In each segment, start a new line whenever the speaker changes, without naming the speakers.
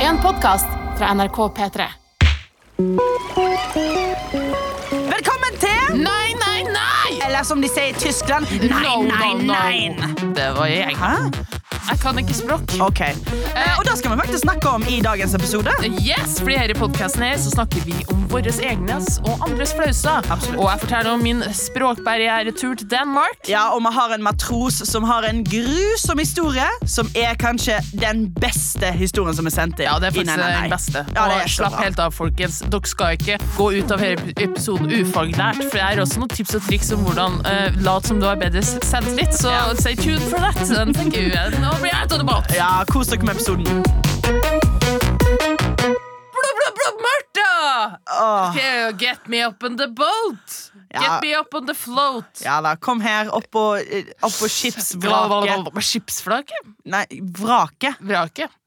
En podkast fra NRK P3.
Velkommen til
Nei, nei, nei!
Eller som de sier i Tyskland Nei,
No,
nei,
no, no.
nei
Det var jeg.
Hæ?
Jeg kan ikke språk.
Ok eh, Og det skal vi faktisk snakke om i dagens episode
Eh, Yes, fordi her i podcasten her så snakker vi om våres egnes og andres flauser.
Absolutt.
Og jeg forteller om min språkbarrieretur til Danmark.
Ja, og vi har en matros som har en grusom historie Som er kanskje den beste historien som er sendt inn
Ja, det er
i
faktisk
Nei, Nei, Nei.
den beste.
Ja, det
og
er så
slapp
bra.
helt av, folkens. Dere skal ikke gå ut av hele episoden ufaglært, for jeg har også noen tips og triks om hvordan uh, lat som du har bedre selvtillit, så stay tuned for that. And thank you. And now we are to the boat.
Ja, kos dere med episoden
Blub, blub, blub, Martha!
Åh,
Okay, get me up on the boat! Get
Ja.
me up on the float!
Ja da, kom her opp på, eh, opp på skipsvraket
Blablabla. Skipsflaket?
Nei, vraket
Vraket.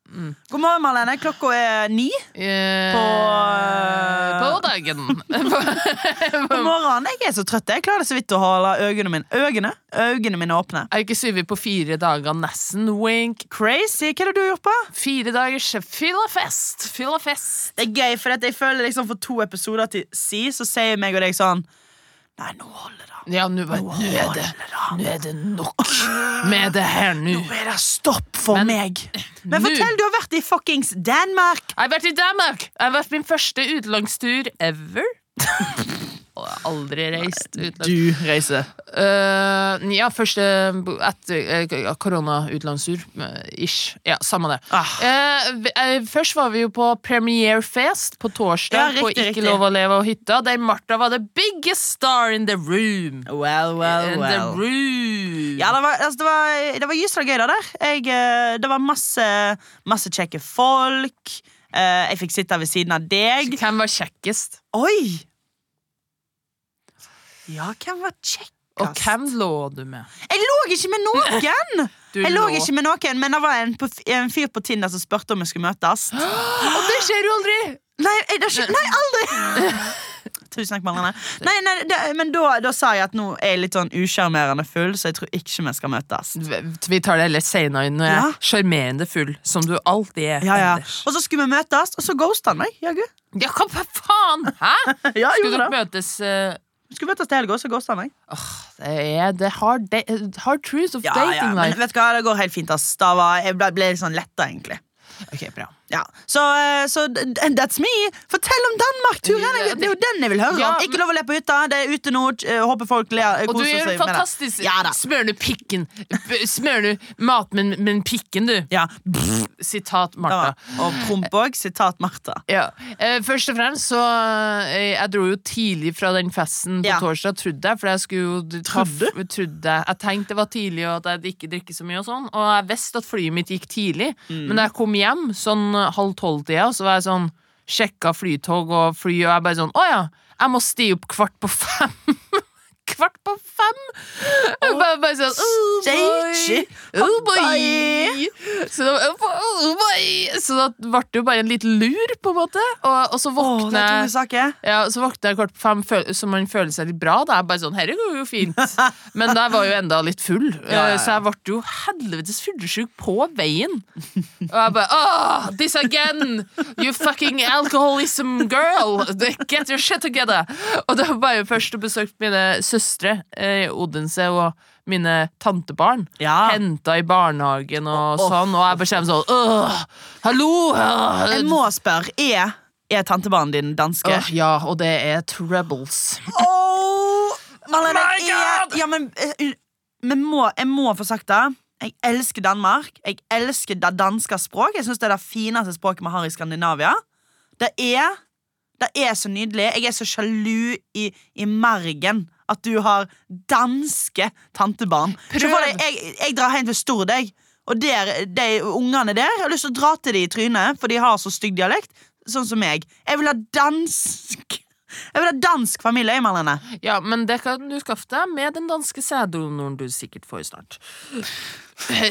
God morgen, Marlene, klokka er ni eh,
Eh,
På-
På dagen.
God morgen, jeg er så trøtt Jeg klarer det så vidt å holde øynene mine Øynene, øynene mine åpne
Er ikke syv på fire dager nesten, wink.
Crazy, hva er det du har gjort på?
Fire dagers fyll og fest, fyll og fest.
Det er gøy, for at jeg føler liksom for to episoder til si, så sier meg og deg sånn Nei, nå holder det.
Ja, nå bare- nå er det Nå er det nok med det her nå.
Nå er det stopp for
Men-
meg. Men
Nå.
fortell, du har vært i fuckings Danmark.
Jeg har vært i Danmark. Jeg har vært min første utenlandstur ever. Og jeg har aldri reist utenlands.
reiser.
Eh, ja, først eh, etter eh, korona-utenlandstur. eh, ish. Ja, samme det.
Ah.
Eh, vi- eh, først var vi jo på premierefest på
Ja,
torsdag
riktig,
på Ikke
riktig.
lov å leve og hytta, der Martha var the biggest star in the room.
Well, well,
In the
Oh, well.
room.
Ja, det var, altså, det var, det var gyselig gøy da, der. Jeg, eh, det var masse, masse kjekke folk. Eh, jeg fikk sitte ved siden av deg.
Hvem var kjekkest?
Oi! Ja, hvem var kjekkest?
Og hvem lå du med?
Jeg lå ikke med noen!
Du
Jeg lå ikke med noen, men det var en, på, en fyr på Tinder som spurte om vi skulle møtes.
Og det skjer jo aldri!
Nei, jeg, det skje- nei aldri! Tusen takk, Marlene. Nei, nei, det, men da, da sa jeg at nå er jeg litt sånn usjarmerende full, så jeg tror ikke vi skal møtes.
Vi tar det litt senere når jeg
Ja.
er sjarmerende full, som du alltid er.
Ja, ja.
ellers.
Og så skulle vi møtes, og så ghosta han meg. Jaggu.
Ja, hva faen? Hæ?
Ja,
Skulle
gjorde
dere
det.
møtes eh,
Vi skulle møtes til helga, og så ghosta han meg.
Det er the hard, da- hard truth of
Ja, ja,
dating
men
life.
vet du hva, det går helt fint. Ass. Da var, jeg ble, ble litt sånn letta, egentlig.
Ok, bra.
Ja. Så, eh, så d- d- that's me. Fortell om Danmark-turen! Jeg- Det er jo den jeg vil høre
Ja,
om. Ikke lov å le på hytta, det er ute nå. eh, Håper folk ler,
Og du
koser
gjør det
seg med det.
fantastisk.
Ja da.
Smører du pikken b- Smører du mat med, med pikken, du?
Ja.
Sitat
Ja.
Martha.
Og promp òg. Sitat Martha.
Ja. Eh, først og fremst så eh, Jeg dro jo tidlig fra den festen på
Ja.
torsdag, trodde jeg. For jeg skulle jo d- ta f- trodde jeg. Jeg tenkte det var tidlig, og at jeg ikke drikker så mye. Og sånn Og jeg visste at flyet mitt gikk tidlig, men da jeg kom hjem sånn eh, halv tolv-tida, så var jeg sånn Sjekka flytog og fly, og jeg bare sånn Å ja, jeg må sti opp kvart på fem. Kvart på fem! Jeg bare, bare sånn Oh boy!
Steikje.
Oh boy!
Pappai.
Så da, oh boy! Så da ble det jo bare en liten lur, på en måte. Og, og så
Åh, det
våkna
er tunge
jeg
saker.
ja, så våkna jeg kvart på fem, føl- så man føler seg litt bra. Da er jeg bare sånn, herre går jo fint Men da var jeg jo enda litt full,
ja, ja.
eh, så jeg ble jo helvetes fyllesyk på veien. Og jeg bare Åh, this again! You fucking alcoholism girl! Get your shit together! Og da var jeg jo først og besøkte mine søstre eh, i Odense og mine tantebarn.
Ja.
Henta i barnehagen og sånn, og jeg bare kommer sånn Åh, hallo! øh,
Jeg må spørre, er, er tantebarnen din danske?
Åh, ja, og det er troubles.
Oh, Marlene,
My
jeg,
God!
ja, men, eh, un- men må, jeg må få sagt det. Jeg elsker Danmark. Jeg elsker det danske språk. Jeg synes det er det fineste språket vi har i Skandinavia. Det er, det er så nydelig. Jeg er så sjalu i, i margen at du har danske tantebarn. Se
Prøv.
for deg, Jeg, jeg drar hjem til Stord, jeg. Og der, de ungene der Jeg har lyst til å dra til de i trynet, for de har så stygg dialekt. Sånn som meg. Jeg vil ha dansk Jeg vil ha dansk familie, jeg, Marlene.
Ja, men det kan du skaffe deg med den danske sæddonoren du sikkert får snart.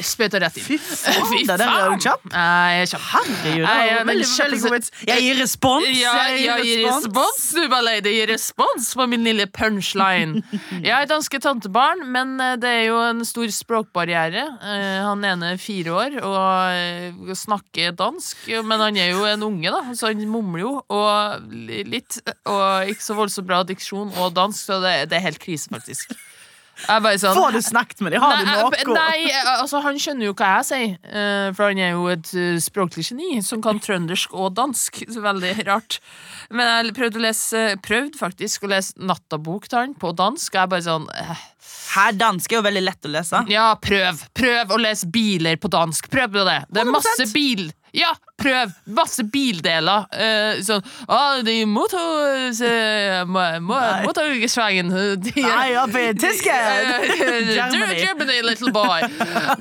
Spøyta rett inn.
Fy faen, der er du kjapp.
Nei, Jeg er kjapp.
Herregud,
Nei,
det
jeg
var
er
veldig,
veldig-
veldig god vits. Jeg gir respons!
Ja, jeg gir respons, du bare lei deg. Gir respons på min lille punchline. Jeg er danske tantebarn, men eh, det er jo en stor språkbarriere. Eh, Han ene er fire år og eh, snakker dansk, men han er jo en unge, da, så han mumler jo og li- litt. Og ikke så voldsomt bra diksjon og dansk, så det, det er helt krise, faktisk. Jeg er bare sånn,
Får du snakket med dem? Har du
Nei,
noe?
Nei, altså han skjønner jo hva jeg sier, eh, for han er jo et eh, språklig geni som kan trøndersk og dansk. Så veldig rart. Men jeg prøvde, å lese, eh, prøvde faktisk å lese Nattabok til han på dansk, og jeg bare sånn eh,
Her dansk er jo veldig lett å lese.
Ja, prøv! Prøv å lese biler på dansk. Prøv på det. Det er masse
100%.
bil. Ja, prøv! Masse bildeler. Eh, sånn ah, de motor... eh, mo- mo- Motorsvingen de-
Nei, opp i Tyskland!
Germany.
Germany.
Germany, little boy.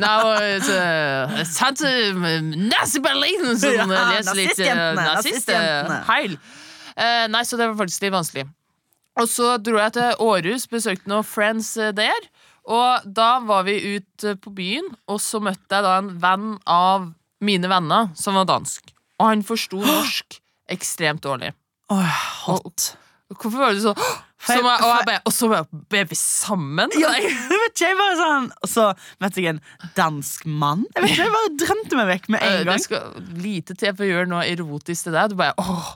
Now it's uh, it's time to Nazi-Berlin som
Ja,
eh, leser litt eh,
nazistjentene,
nazist, eh,
nazistjentene.
Heil. Eh, nei, så det var faktisk litt vanskelig. Og så dro jeg til Århus, besøkte noen friends eh, der. Og da var vi ute på byen, og så møtte jeg da en venn av mine venner som var dansk. Og han forsto norsk ekstremt dårlig.
Åh,
Og- Hvorfor var du sånn
jeg-
Som jeg- Og jeg bare Og så bare, ble vi sammen?
Ja, jeg vet ikke, jeg bare sånn Og så møtte jeg en dansk mann. Jeg vet ikke, jeg bare drømte meg vekk med
Eh,
en
Det
gang.
skal lite til for å gjøre noe erotisk til deg. Du bare åh,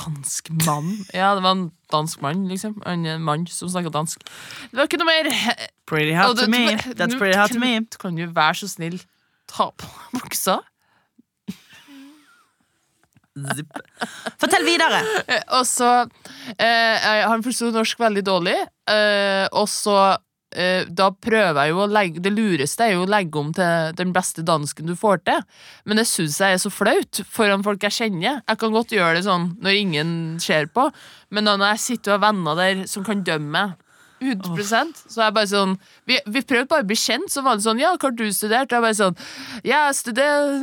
dansk mann. Ja, det var en dansk mann, liksom. En eh, mann som snakka dansk. Det var ikke noe mer eh,
Pretty
og
hot
det-
to me.
du-
That's
nå
pretty hot to
kan-
me.
Kan du være så snill ta på buksa?
Zipp. Fortell videre.
Eh, Og så eh, Han forsto norsk veldig dårlig, eh, og så eh, da prøver jeg jo å legge Det lureste er jo å legge om til den beste dansken du får til. Men det syns jeg er så flaut foran folk jeg kjenner. Jeg kan godt gjøre det sånn når ingen ser på, men da når jeg sitter og har venner der som kan dømme meg 100 Så er jeg bare sånn Vi, vi prøvde bare å bli kjent, så var det sånn Ja, hva har du studert? Og jeg bare sånn Jeg studerer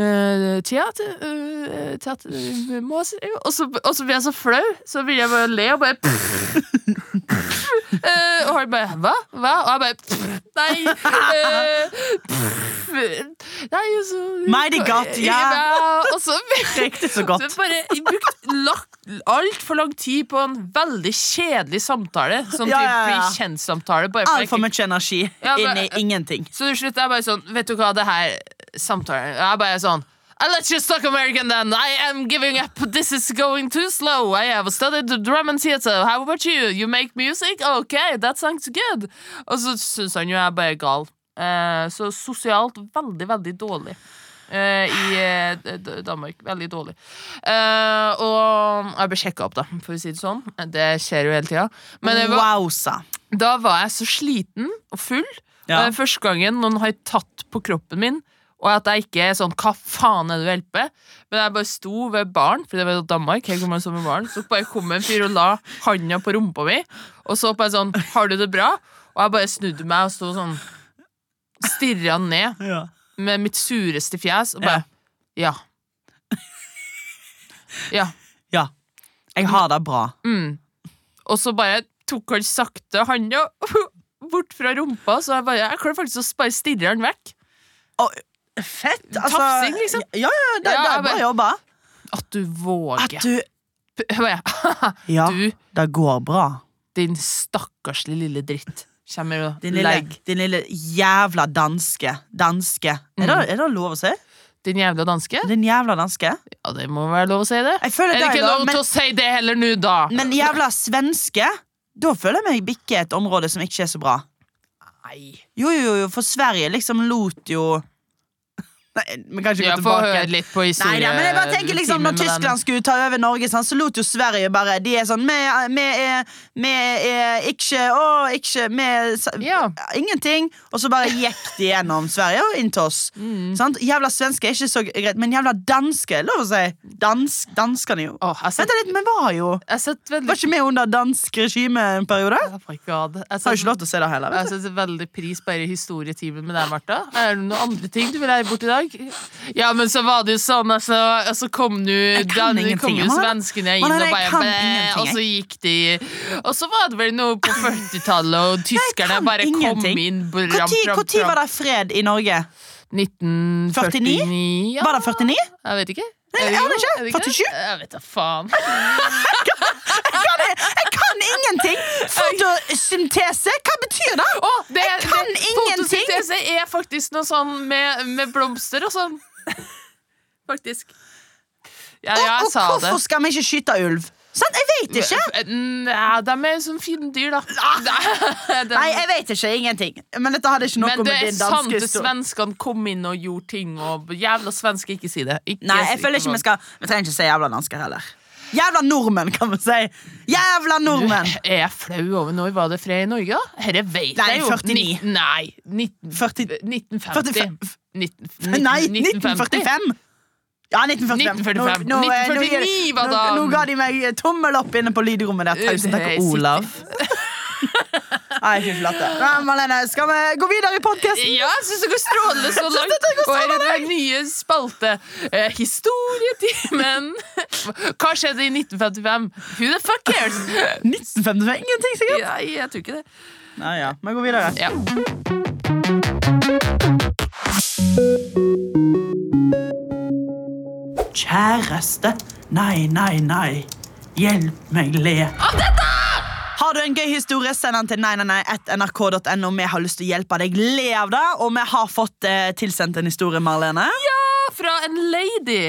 øh, teater, øh, teater øh, master, jo». og, så, og så blir jeg så flau, så begynner jeg bare å le og bare Eh, Og han bare Hva? Hva? Og jeg bare Nei. eh, nei, og så
Mighty godt, ja.
Og så
Riktig så godt.
så jeg bare jeg brukte altfor lang tid på en veldig kjedelig samtale. Sånn
Ja,
typ
ja, ja.
bli kjent-samtale. bare for jeg
Altfor
ikke-
mye energi
Ja, men-
inni ingenting.
Så til slutt er jeg bare sånn Vet du hva, det her samtalen Jeg er bare sånn "Uh, Let's just talk American then. I am giving up. This is going too slow. I have studied drum and theater. How about you? You make music? Okay, that sounds good. Og så syns han jo jeg er bare gal. Eh, så sosialt veldig, veldig dårlig. eh, I eh, D- D- Danmark. Veldig dårlig. Eh, og jeg ble sjekka opp, da, for å si det sånn. Det skjer jo hele tida. Men det var
Wowsa.
da var jeg så sliten og full.
Ja.
Og den Eh, første gangen noen har tatt på kroppen min, og at jeg ikke er sånn 'hva faen er det du holder på med?' Men jeg bare sto ved baren, for det var jo Danmark, her kommer man som ved baren, så bare kom en fyr og la handa på rumpa mi, og så på en sånn 'har du det bra?' Og jeg bare snudde meg og sto sånn Stirra ned
Ja.
med mitt sureste fjes og bare Ja. Ja.
ja. Jeg har det bra.
Mm. Og så bare tok han sakte handa bort fra rumpa, så jeg bare Jeg klarte faktisk å bare stirre han vekk.
Fett!
Tafsing, liksom.
Ja, ja,
Ja,
det, det
jeg
er bra
bare-
jobba.
At du
At
våger.
du
Jeg bare,
Ja,
Du,
det går bra.
din stakkarslige lille dritt. Kommer og
Din lille,
legg
din lille jævla danske. Danske. Er,
Mm.
det, er det lov å si?
Din jævla danske?
Din jævla danske?
Ja, det må være lov å si det.
Jeg føler
Er det ikke
er
lov
men,
til å si det heller nå, da?
men jævla svenske? Da føler jeg meg bikke et område som ikke er så bra.
Nei.
Jo, jo, jo, for Sverige liksom lot jo Nei, vi kan ikke
Ja,
gå
få
tilbake.
høre litt eh, på
Nei,
historien.
nei, men jeg bare tenker liksom Når Tyskland skulle ta over Norge, sant, så lot jo Sverige bare De er sånn Vi er- vi er vi er ikke Å, ikke Vi er sa-
Ja.
Ingenting. Og så bare gikk de gjennom Sverige og inn til oss.
Mm.
Sant? Jævla svenske er ikke så greit, men jævla danske, lov å si. Dansk, danskene, jo.
Åh, jeg
Vent
setter,
litt, vi var jo
jeg setter veldig
Var ikke vi under dansk regime en periode?
Oh my God. Jeg
Har jo
setter-
ikke lov til å si det heller. Vet
Jeg setter veldig pris på denne historietimen med deg, Martha. Er det noen andre ting du vil ha bort i dag? Ja, men så var det jo sånn, altså, og så kom nu,
Jeg kan
den, kom
ingenting,
jo
Amanda.
svenskene inn, og
Amanda, jeg
bare
kan
bæ,
ingenting,
Og så gikk de Og så var det vel noe på 40-tallet, og tyskerne
kan
bare
ingenting.
kom inn
Når var det fred i Norge?
1949? Ja,
Var det 49?
jeg vet ikke.
jeg aner ikke.
Er det
47?
Jeg vet da faen.
Jeg kan ingenting! Fotosyntese, hva betyr det?
Å, det, jeg
kan ingenting.
Fotosyntese er faktisk noe sånn med, med blomster og sånn. Faktisk. Ja, ja, jeg
og, og
sa det. eh,
hvorfor skal vi ikke skyte ulv? Sant? Jeg vet ikke.
Nei, de er sånn fine dyr, da. Nei, de-
Ah! Nei, jeg vet ikke. Ingenting. Men dette hadde ikke noe
men det
med
er
din
sant
danske
at
historie
svenskene kom inn og gjorde ting, og jævla svensker, ikke si det. Ikke,
Nei, jeg føler ikke vi skal Vi trenger ikke si jævla dansker heller. Jævla nordmenn, kan vi si. Jævla nordmenn!
Er jeg flau over når var det fred i Norge, da? Herre veit
Nei,
jeg jo.
49.
Nitten- nei, 19,
40,
1950. 19,
Eh, nei,
1950.
1945! Ja, 1945.
1945.
Nå, nå, eh, nå,
1949 var da-
nå, nå ga de meg eh, tommel opp inne på lydrommet der. Tusen
Det
takk,
er
Olav. Nei, fy flate. Nei, Malene, skal vi gå videre i podkasten?
Ja, jeg syns det går strålende så langt. Og her er det nye spalte. Eh, historietimen. Hva skjedde i 1955? Who the fuck cares?
1955? Ingenting, sikkert.
Nei, jeg tror ikke det.
Nei, ja. Vi går videre.
Ja.
Kjæreste. Nei, nei, nei. Hjelp meg le. Av dette! Har du en gøy historie, send den til nrk.no. Vi har lyst til å hjelpe deg. Le av det. Og vi har fått eh, tilsendt en historie, Marlene.
Fra en lady.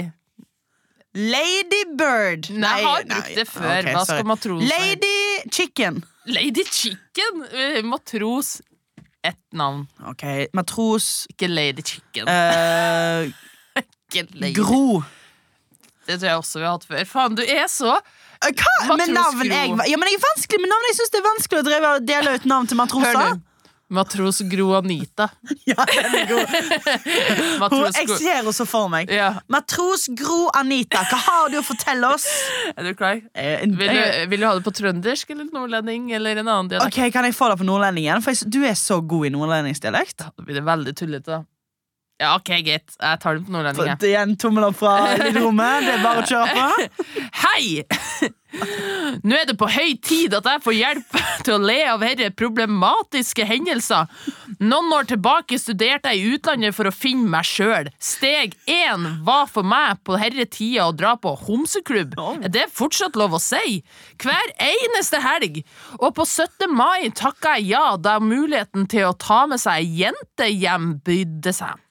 Lady Bird.
Nei, jeg har brukt det før.
Ok,
Hva
sorry.
skal matrosen
Lady Chicken.
Lady Chicken? Eh, Matros. Ett navn.
Ok, Matros
Ikke Lady Chicken.
eh,
Ikke lady.
Gro.
Det tror jeg også vi har hatt før. Faen, du er så
Eh, Hva med
Matros
navn?
Gro.
Jeg, ja, men jeg er vanskelig med navn. Jeg syns det er vanskelig å drive og dele ut navn til matroser.
Hør nå. Matros Gro Anita.
Ja, den er god. Hun,
Matros
jeg
Gro
ser henne så for meg.
ja,
Matros Gro Anita, hva har du å fortelle oss?
er du klar?
Eh,
Vil du, vil du ha det på trøndersk eller nordlending eller en annen dialekt?
Ok, Kan jeg få det på nordlending igjen? For jeg, du er så god i nordlendingsdialekt.
Da blir det veldig tullete, da. Ja, ok, greit. Jeg tar den på
For-
nordlending. jeg.
Det er en tommel opp fra lydrommet. Det er bare å kjøre på.
Hei! Nå er det på høy tid at jeg får hjelp til å le av herre problematiske hendelser. Noen år tilbake studerte jeg i utlandet for å finne meg sjøl. Steg én var for meg på herre tida å dra på homseklubb. Er det fortsatt lov å si? Hver eneste helg. Og på 17. mai takka jeg ja da muligheten til å ta med seg ei jente hjem bydde seg.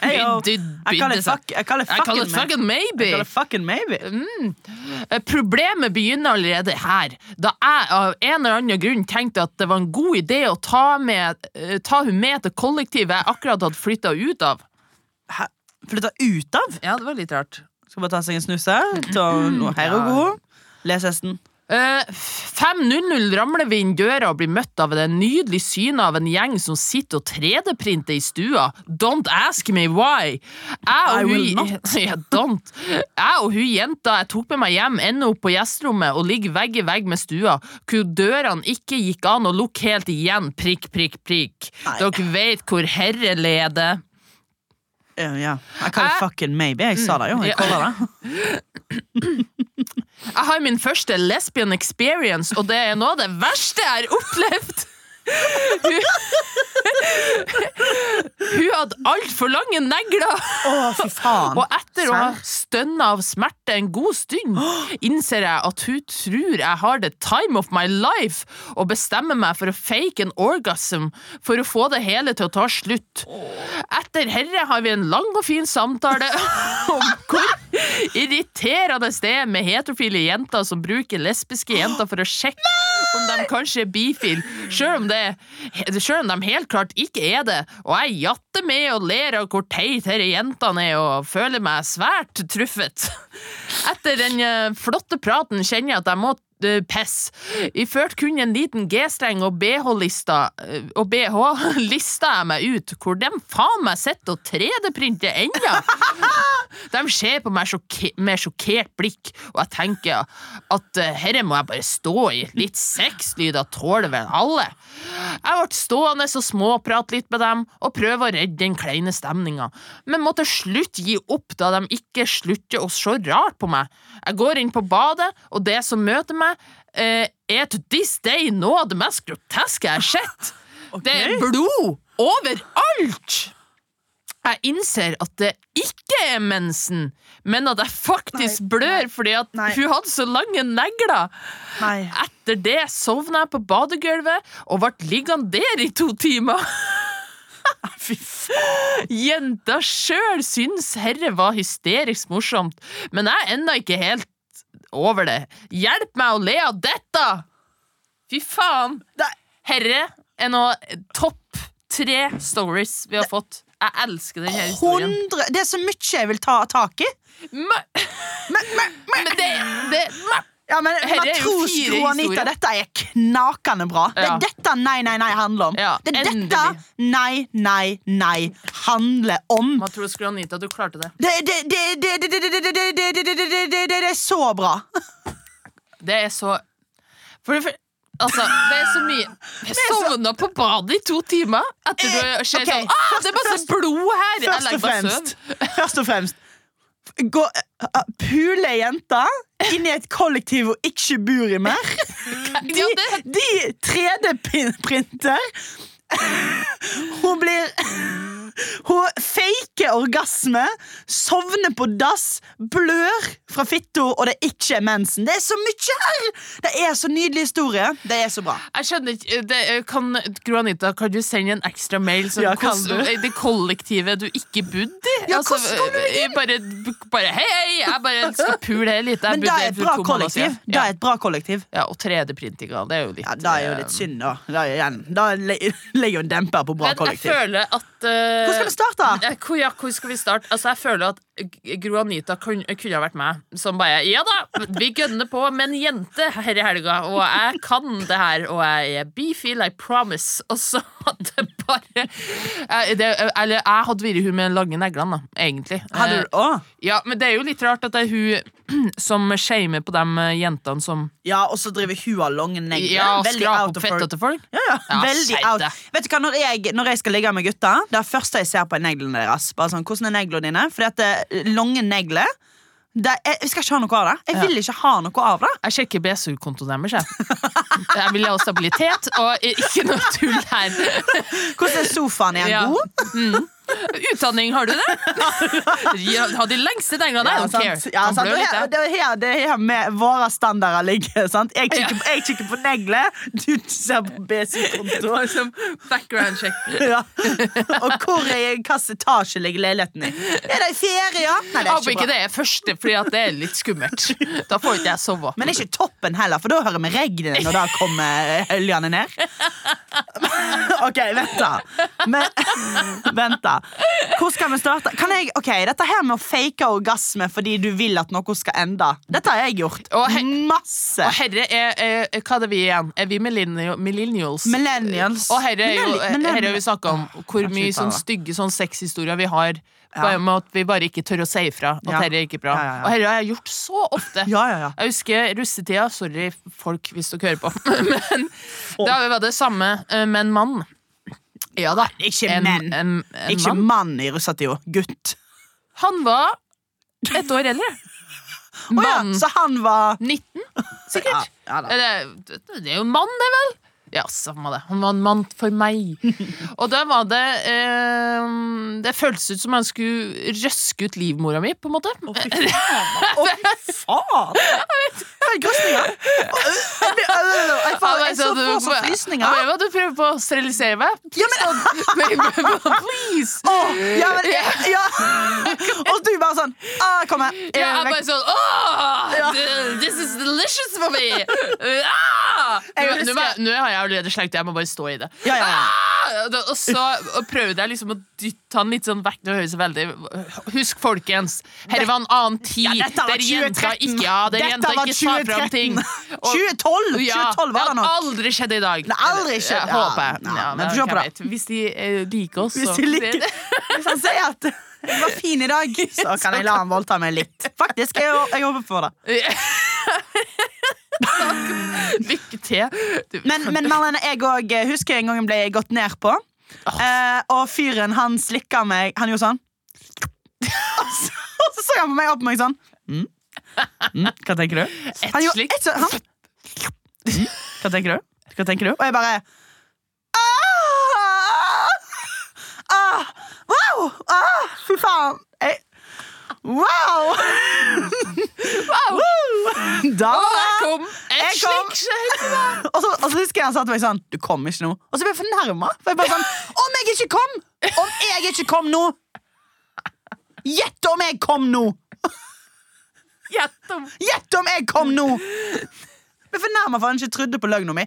Hey, yo.
Bydde,
Jeg
bydde
kaller det
seg.
fuck- jeg kaller
I call it
fucking meg.
fucking maybe. Mm.
Jeg kaller fucking maybe.
Eh, Problemet begynner allerede her, da jeg av en eller annen grunn tenkte at det var en god idé å ta, med, eh, ta hun med til kollektivet jeg akkurat hadde flytta ut av.
Hæ? Flytta ut av?
Ja, det var litt rart.
Skal bare ta seg en snus her. Ta noe her og god. Les hesten.
Eh, 5.00 ramler vi inn døra og blir møtt av det nydelige synet av en gjeng som sitter og 3D-printer i stua. Don't ask me why! Jeg
I
og hun,
will not.
ja, don't. Jeg og hun jenta jeg tok med meg hjem, ender opp på gjesterommet og ligger vegg i vegg med stua, hvor dørene ikke gikk an å lukke helt igjen. Prikk, prikk, prikk.
Nei.
Dere vet hvor herre leder.
Ja, ja. Jeg kaller
Jeg-
det fucking maybe. Jeg sa det jo. Jeg
Ja.
kaller det.
Jeg har min første lesbian experience, og det er noe av det verste jeg har opplevd. Hun, hun hadde altfor lange negler,
Å, fy faen.
og etter å ha stønna av smerte en god stund, innser jeg at hun tror jeg har the time of my life, og bestemmer meg for å fake en orgasm for å få det hele til å ta slutt. Etter herre har vi en lang og fin samtale om hvor irriterende det er med heterofile jenter som bruker lesbiske jenter for å sjekke om de kanskje er bifile, sjøl om, det- selv om de helt klart ikke er det. Og jeg jatter med og ler av hvor teit disse jentene er, og føler meg svært truffet. Etter den eh, flotte praten kjenner jeg at jeg må eh, pisse. Iført kun en liten G-streng og BH-lista eh, Og BH-lista jeg meg ut, hvor de faen meg sitter og 3D-printer ennå! De De ser på meg sjokke, med sjokkert blikk, og jeg tenker at uh, herre må jeg bare stå i. Litt sexlyder tåler vel alle. Jeg ble stående og småprate litt med dem, og prøve å redde den kleine stemninga, men må til slutt gi opp da de ikke slutter å se rart på meg. Jeg går inn på badet, og det som møter meg, eh, er to this day noe av det mest groteske jeg har sett. Det er blod overalt! Jeg innser at det ikke er mensen, men at jeg faktisk
Nei,
blør fordi at
nei.
hun hadde så lange negler.
Nei.
Etter det sovna jeg på badegulvet og ble liggende der i to timer. Ah,
Fy faen.
Jenta sjøl syns herre var hysterisk morsomt, men jeg er ennå ikke helt over det. Hjelp meg å le av dette! Fy faen!
Nei.
Herre er nå topp tre stories vi har fått. Jeg elsker denne historien.
100 Det er så mye jeg vil ta tak i.
Men,
Men, men, men,
men det, det men,
ja, men
Herre er jo fire
matroskro Anita,
historier.
dette er knakende bra. Det
Ja.
er dette Nei, nei, nei handler om.
Ja,
det er dette
endelig.
Nei, nei, nei handler om.
Matros Granita, du klarte det.
Det, det, det, det, det, det, det, det, det, det, det, det, det, det, det, det er så bra.
Det er så for, for, Altså, det er så mye Jeg sovna på badet i to timer etter du
Eh,
ser
ok,
sånn ah, Det er masse
først-
blod her! Jeg
Først
legger
og
meg søvn.
fremst. Først og fremst. Gå, uh, pule jenter inn i et kollektiv hun ikke bor i mer. De,
Ja, det-
de 3D-printer. Hun blir Hun faker orgasme, sovner på dass, blør fra fitta, og det er ikke mensen. Det er så mye her! Det er så nydelig historie. Det er så bra.
Jeg skjønner ikke det, eh, kan, Gro Anita, kan du sende en ekstra mail som
Ja, kan
hvordan- eh, det kollektivet du ikke bodde i? Altså, eh,
Ja, hvordan kom du
bare, bare hei, hei, jeg bare skal pule her litt. Jeg
Men
bodde
det
her
er et
for
bra
to måneder
kollektiv.
siden.
Det
Ja,
er et bra kollektiv.
ja, og 3D-printinga. Det er jo litt
Ja, da er jo litt
eh,
synd, da. Da, er igjen. da le- legger jo en demper på bra
Men eh, jeg
kollektiv.
føler at eh,
Hvor skal vi starte?
Eh, Hvor, ja, hvor skal vi starte? Altså, jeg føler at G- Gro Anita kun, kunne ha vært meg, som bare Ja da, vi gønner på med en jente her i helga, og jeg kan det her, og jeg er bifil, I promise. Og så at det bare jeg, det, Eller jeg hadda vært hun med de lange neglene, da, egentlig.
Hadde
Eh,
du Å!
Ja, men det er jo litt rart at det er hun som shamer på de eh, jentene som
Ja, og så driver hun av lange negler.
Ja,
Veldig
skraper
out
opp
of her.
fetta til folk.
Ja, ja.
Ja,
Veldig
skjerp
out.
deg.
Vet du hva, når jeg, når jeg skal ligge med gutta, det er første jeg ser på, er neglene deres. Bare sånn, hvordan er neglene dine? Fordi at eh, lange negler det er, Jeg skal ikke ha noe av det. Jeg vil ikke ha noe av det.
Jeg sjekker BSU-kontoen deres. Jeg. jeg vil ha stabilitet og ikke noe tull her.
Hvordan er sofaen? Er den
Ja.
god?
Mm. Utdanning, har du det? Ja, Har de lengste neglene? I don't care.
sant. Ja,
Han
sant.
blør
Og
litt,
her,
jeg.
det er her, det er her med våre standarder ligger. Sant? Jeg kikker, på- jeg kikker på negler, du ser på BSU-konto.
Bare som background check.
Ja. Og hvor er hvilken etasje ligger leiligheten i? Er det i fjerde, ja? Nei, det
Håper
er
ikke
ikke bra.
det er første, fordi at det er litt skummelt. Da får ikke jeg sove.
Men det er ikke toppen heller, for da hører vi regnet når da kommer høljene ned. OK, vent, da. Men, vent, da. Hvor skal vi starte? Kan jeg, ok, Dette her med å fake orgasme fordi du vil at noe skal ende, dette har jeg gjort.
Og he-
Masse.
Og herre er, er, er Hva er det vi igjen? Er vi millennial- millennials?
Millennials.
Og herre er jo, eh,
Millenni-
herre
millenni-
har vi snakka om hvor
jeg
mye
slutter
sånn
da.
stygge sånn sexhistorier vi har. Bare med at vi bare ikke tør å si ifra at
Ja.
herre er ikke bra.
Ja, ja, ja.
Og herre har jeg gjort så ofte.
Ja, ja, ja.
Jeg husker russetida. Sorry, folk, hvis dere hører på. Men da var det samme eh, med en mann. Ja da.
Ikke
En,
menn.
en, en
Ikke
mann.
mann i russetida. Gutt.
Han var et år eldre.
Å ja,
Mann
så han var
19,
ja,
sikkert.
ja da.
Eller, det, det er jo en mann, det vel? Ja, samme det. Han var en mann for meg. Og da var det eh, Det føltes ut som han skulle røske ut livmora mi, på en måte.
Å, fy faen! Hei, grøsninger. Jeg blir- øh, jeg
Han
får
var
jeg så
sånn,
få
du-
sånn
Han
frysninger.
bare, Hva, du prøver på å sterilisere meg?
Ja, men,
Sånn, Please!
Å, ja, men ja. Og du bare sånn Å, kom her.
Ja,
Eh,
jeg
vekk.
bare sånn Åh, th- This is delicious for me! Uh, ah!
Jeg
Nå- Nå
husker-
må- nå har jeg allerede slengt, jeg må bare stå i det.
Ja, ja, ja.
Ah! Da- Og så prøvde jeg liksom å dytte han litt sånn vekk. Det høres veldig Husk, folkens, her var en annen tid.
Ja, dette var
der jenta
2013.
ikke, ja, der
Dette
jenta
var
ikke sa fram ting.
2013. 2012!
ja,
2012 var det
Det
nok.
hadde aldri skjedd i dag.
Det hadde aldri skjedd,
Jeg
ja.
håper jeg.
Ja, men
men
vi får se på
hvem vet. Hvis de eh, liker oss,
Hvis de liker Hvis han sier at Jeg var fin i dag. Så kan jeg la han voldta meg litt. Faktisk, jeg, jeg håper på det.
Lykke til. Du,
Men, men Marlene, jeg òg husker en gang jeg ble gått ned på.
Ah.
Eh, og fyren, han slikka meg Han gjorde sånn. Og så, og så så han på meg opp på meg sånn. Mm. Mm. Hva tenker du?
Et
Han gjorde
slikt.
et sånn- han- Mm. Hva tenker du? Hva tenker du? Og jeg bare «Ah! ah, Wow! Ah, fy faen! Jeg, wow!
Wow!
Da
Og der kom
Jeg
et
kom.
slikt skjegg!
og, så, og så husker jeg han sa til meg sånn Du kom ikke nå Og så ble jeg fornærma For jeg bare sånn Om jeg ikke kom Om jeg ikke kom nå Gjett om jeg kom nå
Gjett om
Gjett om jeg kom nå Jeg ble fornærma for han ikke trodde på løgna mi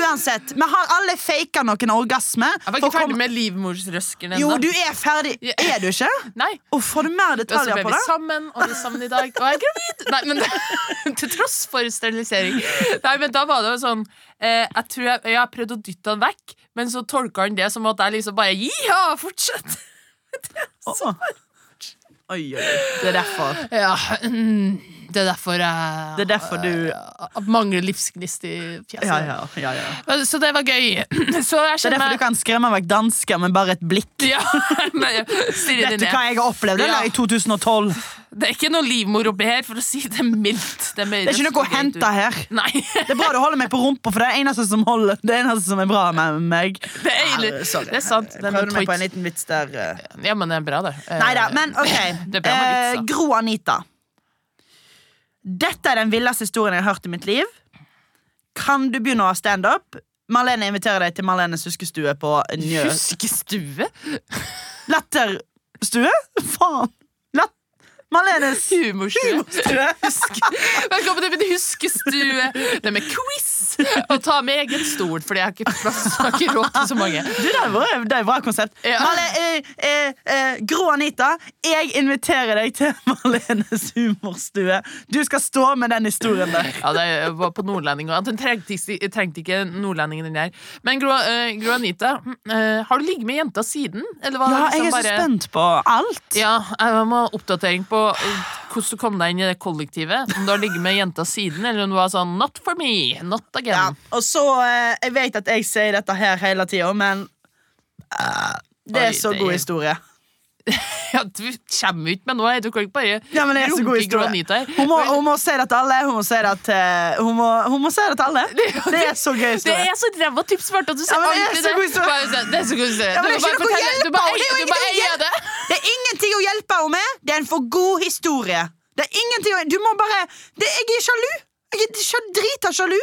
Uansett Vi har alle faka noen orgasme
Jeg var
for
ikke
å komme-
ferdig med livmorsrøsken
Jo,
ennå.
du er ferdig
Ja.
Er du ikke?
Nei.
Uff, har du mer
Og så
detaljer
ble
på
vi
det?
sammen, og vi er sammen i dag, og jeg er gravid! Nei, men Til tross for sterilisering. Nei, men da var det jo sånn eh, Jeg tror jeg, jeg har prøvd å dytte han vekk, men så tolka han det som at jeg liksom bare Ja, fortsett!
Åh. Oi, oi, oi Det er derfor
Ja, mm, det er derfor jeg eh,
Det er derfor du Ja,
mangler livsgnist i fjeset. Eh,
ja, ja, ja.
Så det var gøy. Så jeg
Det er derfor du kan skremme vekk dansker Med bare et blikk
Ja, men stirre
Vet du hva jeg har opplevd eller?
Ja.
i 2012?
Det er ikke noe livmor oppi her, for å si det mildt. Det er, mer
Det er ikke noe
røst og
å
greit ut.
hente her.
Nei.
Det er bra du holder meg på rumpa, for det er det eneste som, holder, det er, det eneste som er bra med meg.
Det er, egentlig-
Ja, sorry.
det er sant. Den er
Prøvde meg på en
tight.
liten vits der. eh.
Ja, men det er bra, det. Eh,
Nei da, men OK.
Det er bra med
Eh,
vitser.
Gro Anita. Dette er den villeste historien jeg har hørt i mitt liv. Kan du begynne å ha standup? Marlene inviterer deg til Marlenes huskestue på Njø.
Huskestue?
Latterstue? Faen! Latt... Marlenes
Humorstue.
humorstue.
Velkommen til min huskestue! Det er med quiz! Og ta med egen stol, Fordi jeg har ikke plass Jeg har ikke råd til så mange.
Du, det er bra, det er bra konsept.
Ja.
Marle, eh, eh, eh, Gro Anita, jeg inviterer deg til Marlenes humorstue. Du skal stå med den historien der.
Ja, det var på nordlending også. Den trengte, ikke- trengte ikke nordlendingen den der. Men Gro, eh, Gro Anita, mm, eh, har du ligget med jenta siden? Eller var
Ja,
det liksom
jeg er så
bare
spent på alt.
Ja, jeg må ha oppdatering på eh, hvordan du kom deg inn i det kollektivet. Om du har ligget med jenta siden, eller om du var sånn 'not for me', 'not
Ja,
again'.
og så, eh, Jeg vet at jeg sier dette her hele tida, men eh, det
Oi,
er så
det
god
er-
historie.
Ja, du kommer ut med noe, du kan ikke bare
Ja, men det er så god
runke Gro
historie.
Anita her.
Hun må, hun må si det til alle. Hun må si det til, hun må, hun må si det til alle. Det er så gøy
Det
historie.
er så ræva tipsvart at du sier
Ja, men det er
alltid
så
det.
god historie.
Bare sånn, Det er så god historie.
Ja, men
Du
det er
må bare
ikke noe
fortelle-
hjelp
du må
av, det er
eie- Du må
jo ingenting å
eie
hjelpe.
det.
Det er ingenting å hjelpe henne med. Det er en for god historie. Det er ingenting å, Du må bare det, Jeg er sjalu. Jeg er sj- drita sjalu.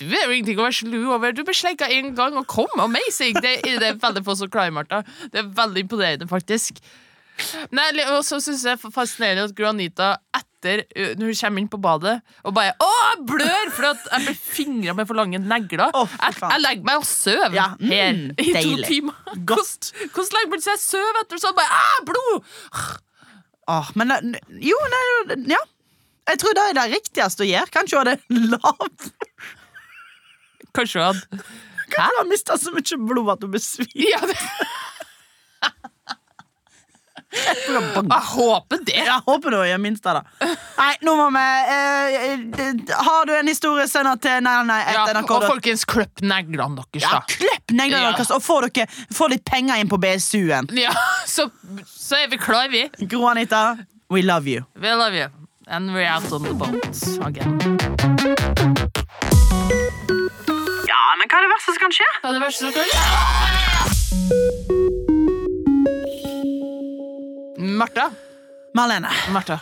Du er jo ingenting å være slu over. Du ble slenka én gang og kom. Amazing! Det, det er veldig få som klarer, Martha. Det er veldig imponerende, faktisk. Nei, li- Og så syns jeg det er fascinerende at Gro Anita etter, ø, når hun kommer inn på badet, og bare 'Å, jeg blør!' For at jeg blir fingra med for lange negler.
Å, fy
jeg,
faen.
jeg legger meg og sover
Ja, mm,
her i
deilig.
to timer.
Godt.
Hvordan, hvordan legger man seg sove etter sånn? Bare, ah, blod!
Åh, Ah, men det- Jo, nei, jo, ja. Jeg tror det er det riktigste å gjøre. Kanskje hun hadde lav.
Kanskje hun hadde
Hun har mista så mye blod at hun besvimer.
ja, det, Jeg håper det.
Jeg håper du gjør minst av det. Nei, nå må vi eh, eh, d- Har du en historie, send den til Nei, nei,
Ja,
etter
og
NRK.
folkens, kløpp neglene deres,
Ja,
da.
klipp
Ja.
neglene deres og få, dere, få litt penger inn på BSU-en.
Ja, så, så er vi klar, vi.
Gro Anita, we love you.
We love you. And we're out on the boat again.
Ja, men hva er det verste som kan skje?
Ja, det verste som kan Martha,
Marlene.
Martha.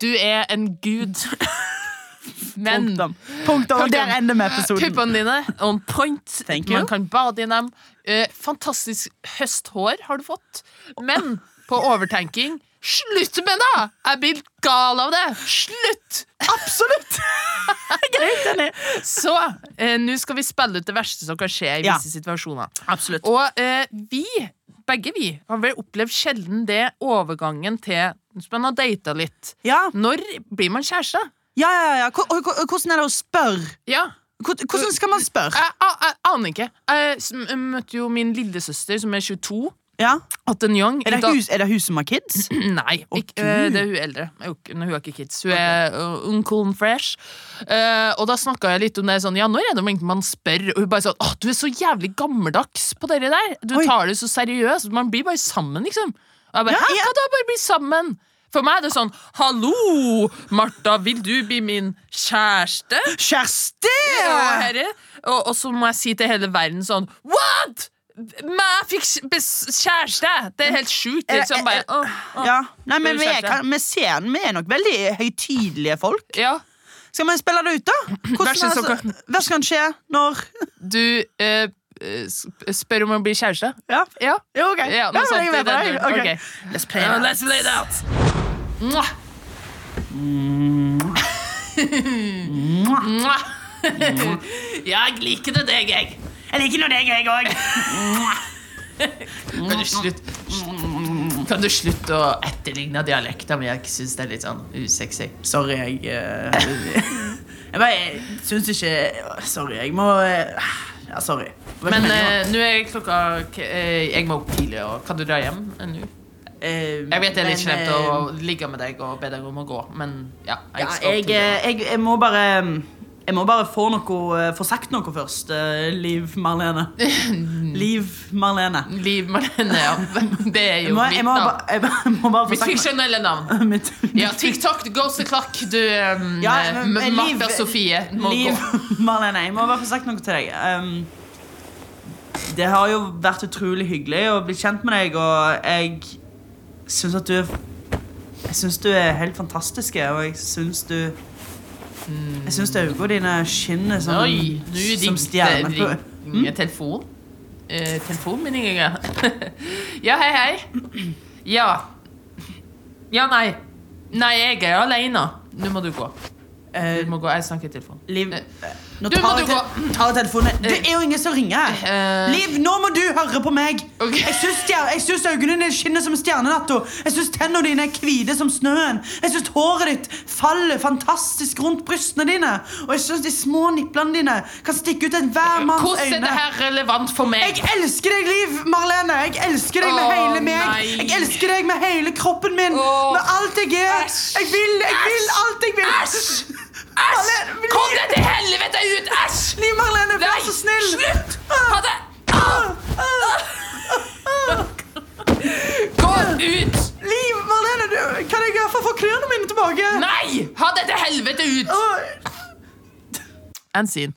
Du er en gud. Men
Punktum. Punktum. Og der ender vi episoden.
puppene dine on point.
Thank you.
Man kan bade i dem. Eh, fantastisk høsthår har du fått. Men på overtenking Slutt med det! Jeg blir gal av det! Slutt!
Absolutt! Jeg er helt enig.
Så eh, nå skal vi spille ut det verste som kan skje i
Ja.
visse situasjoner.
Absolutt.
Og eh, vi, begge vi, har vel opplevd sjelden det overgangen til Hvis man har data litt.
Ja,
Når blir man kjæreste?
ja, ja. ja. Hvor- og- og- Hvordan er det å spørre?
Ja,
Hvor- Hvordan skal man spørre?
jeg, jeg, jeg aner ikke. Jeg s- møtte jo min lillesøster, som er 22,
Ja.
At en young
Er, det
uten-
hus, er det hun som har kids?
Nei,
Å,
ikke, øh,
Gud.
det er hun eldre. Hun er jo ikke- Hun er ikke kids. Hun er øh, uncool and fresh. Eh, og da snakka jeg litt om det sånn Ja, når er det egentlig man spør? Og hun bare sånn Å, du er så jævlig gammeldags på dere der! Du
Oi.
tar det så seriøst. Man blir bare sammen, liksom. Og jeg bare
Ja,
Hæ,
ja.
hva da? Bare bli sammen? For meg er det sånn Hallo, Martha, vil du bli min kjæreste?
Kjersti!
Og, herre, og, og så må jeg si til hele verden sånn What?! Meg fikk s- bes- kjæreste! Det er helt sjukt.
Er det-
Liksom bare «Åh, åh».
eh, Ja. Nei, men vi er,
Unnskyld.
kan- vi ser den. Vi er nok veldig høytidelige folk.
Ja.
Skal vi spille det ut, da?
Vær så
Hvordan,
snill,
altså, hva skal skje når
Du eh, eh, sp- spør om å bli kjæreste?
Ja,
Ja.
jo, ok.
Ja, noe
men
sånt
jeg er
i den
med på
duren.
det. Ok. Let's play
Uh,
it out.
let's play it out! Mwah. Mwah. jeg liker det deg, jeg.
Jeg liker nå deg, jeg òg.
Kan du slutte Kan du slutte å etterligne dialekta mi? Jeg syns det er litt sånn usexy.
Sorry, jeg eh, Jeg bare syns ikke Sorry, jeg må eh, Ja, sorry. Det var ikke
Men
meningen,
eh, nå er klokka k- eh, Jeg må opp tidlig, og kan du dra hjem eh, nå?
da. Eh,
Jeg vet det er litt
men,
slemt å ligge med deg og be deg om å gå, men ja.
eh,
skal
ja,
opp
jeg,
tidlig.
eh, jeg, jeg må bare Jeg må bare få noe eh, Få sagt noe først, eh, Liv Marlene. Liv Marlene.
Liv Marlene, ja. Det er
Jeg
jo
må,
mitt
jeg må,
navn.
bare, jeg bare- jeg må bare få
Mitt
sagt noe.
fiksjonelle navn.
Mitt-
Ja, TikTok goes the clock, du um,
Ja, men- men Liv-
Martha Sofie må
Liv,
gå.
Marlene, jeg må bare få sagt noe til deg. Um, det har jo vært utrolig hyggelig å bli kjent med deg, og jeg syns at du er Jeg syns du er helt fantastisk, og jeg syns du Jeg syns øynene dine skinner som,
Oi, nå
sånn som
ringte
stjerner på Mm?
ringer telefon. Eh, telefonen min ringer. ja, hei, hei. Ja. Ja, nei. Nei, jeg er alene. Nå må du gå.
Eh,
Du må gå, Jeg snakker i telefonen.
Liv
Eh,
Nå
du,
tar
må
jeg
du
te- tar jeg telefonen. Det er jo ingen som ringer her.
Eh.
Liv, nå må du høre på meg!
Ok.
Jeg syns stjer- jeg syns øynene dine skinner som stjernenatta. Jeg syns tennene dine er hvite som snøen. Jeg syns håret ditt faller fantastisk rundt brystene dine. Og jeg syns de små niplene dine kan stikke ut enhver manns
Hvordan er det
øyne.
her relevant for meg?
Jeg elsker deg, Liv Marlene. Jeg elsker deg med
Åh,
hele meg.
nei.
Jeg elsker deg med hele kroppen min.
Åh.
Med alt jeg er.
Æsj.
Jeg vil, jeg vil
Æsj.
alt jeg vil.
Æsj. Æsj!
Marlene,
Kom
Liv-
deg til helvete ut! Æsj!
Liv Marlene, vær
Nei,
så snill. Ah,
slutt! Ha det! Ah! Gå ut!
Liv Marlene, du, kan jeg i hvert fall få klærne mine tilbake?
Nei! Ha det til helvete ut!
Åh,
And scene.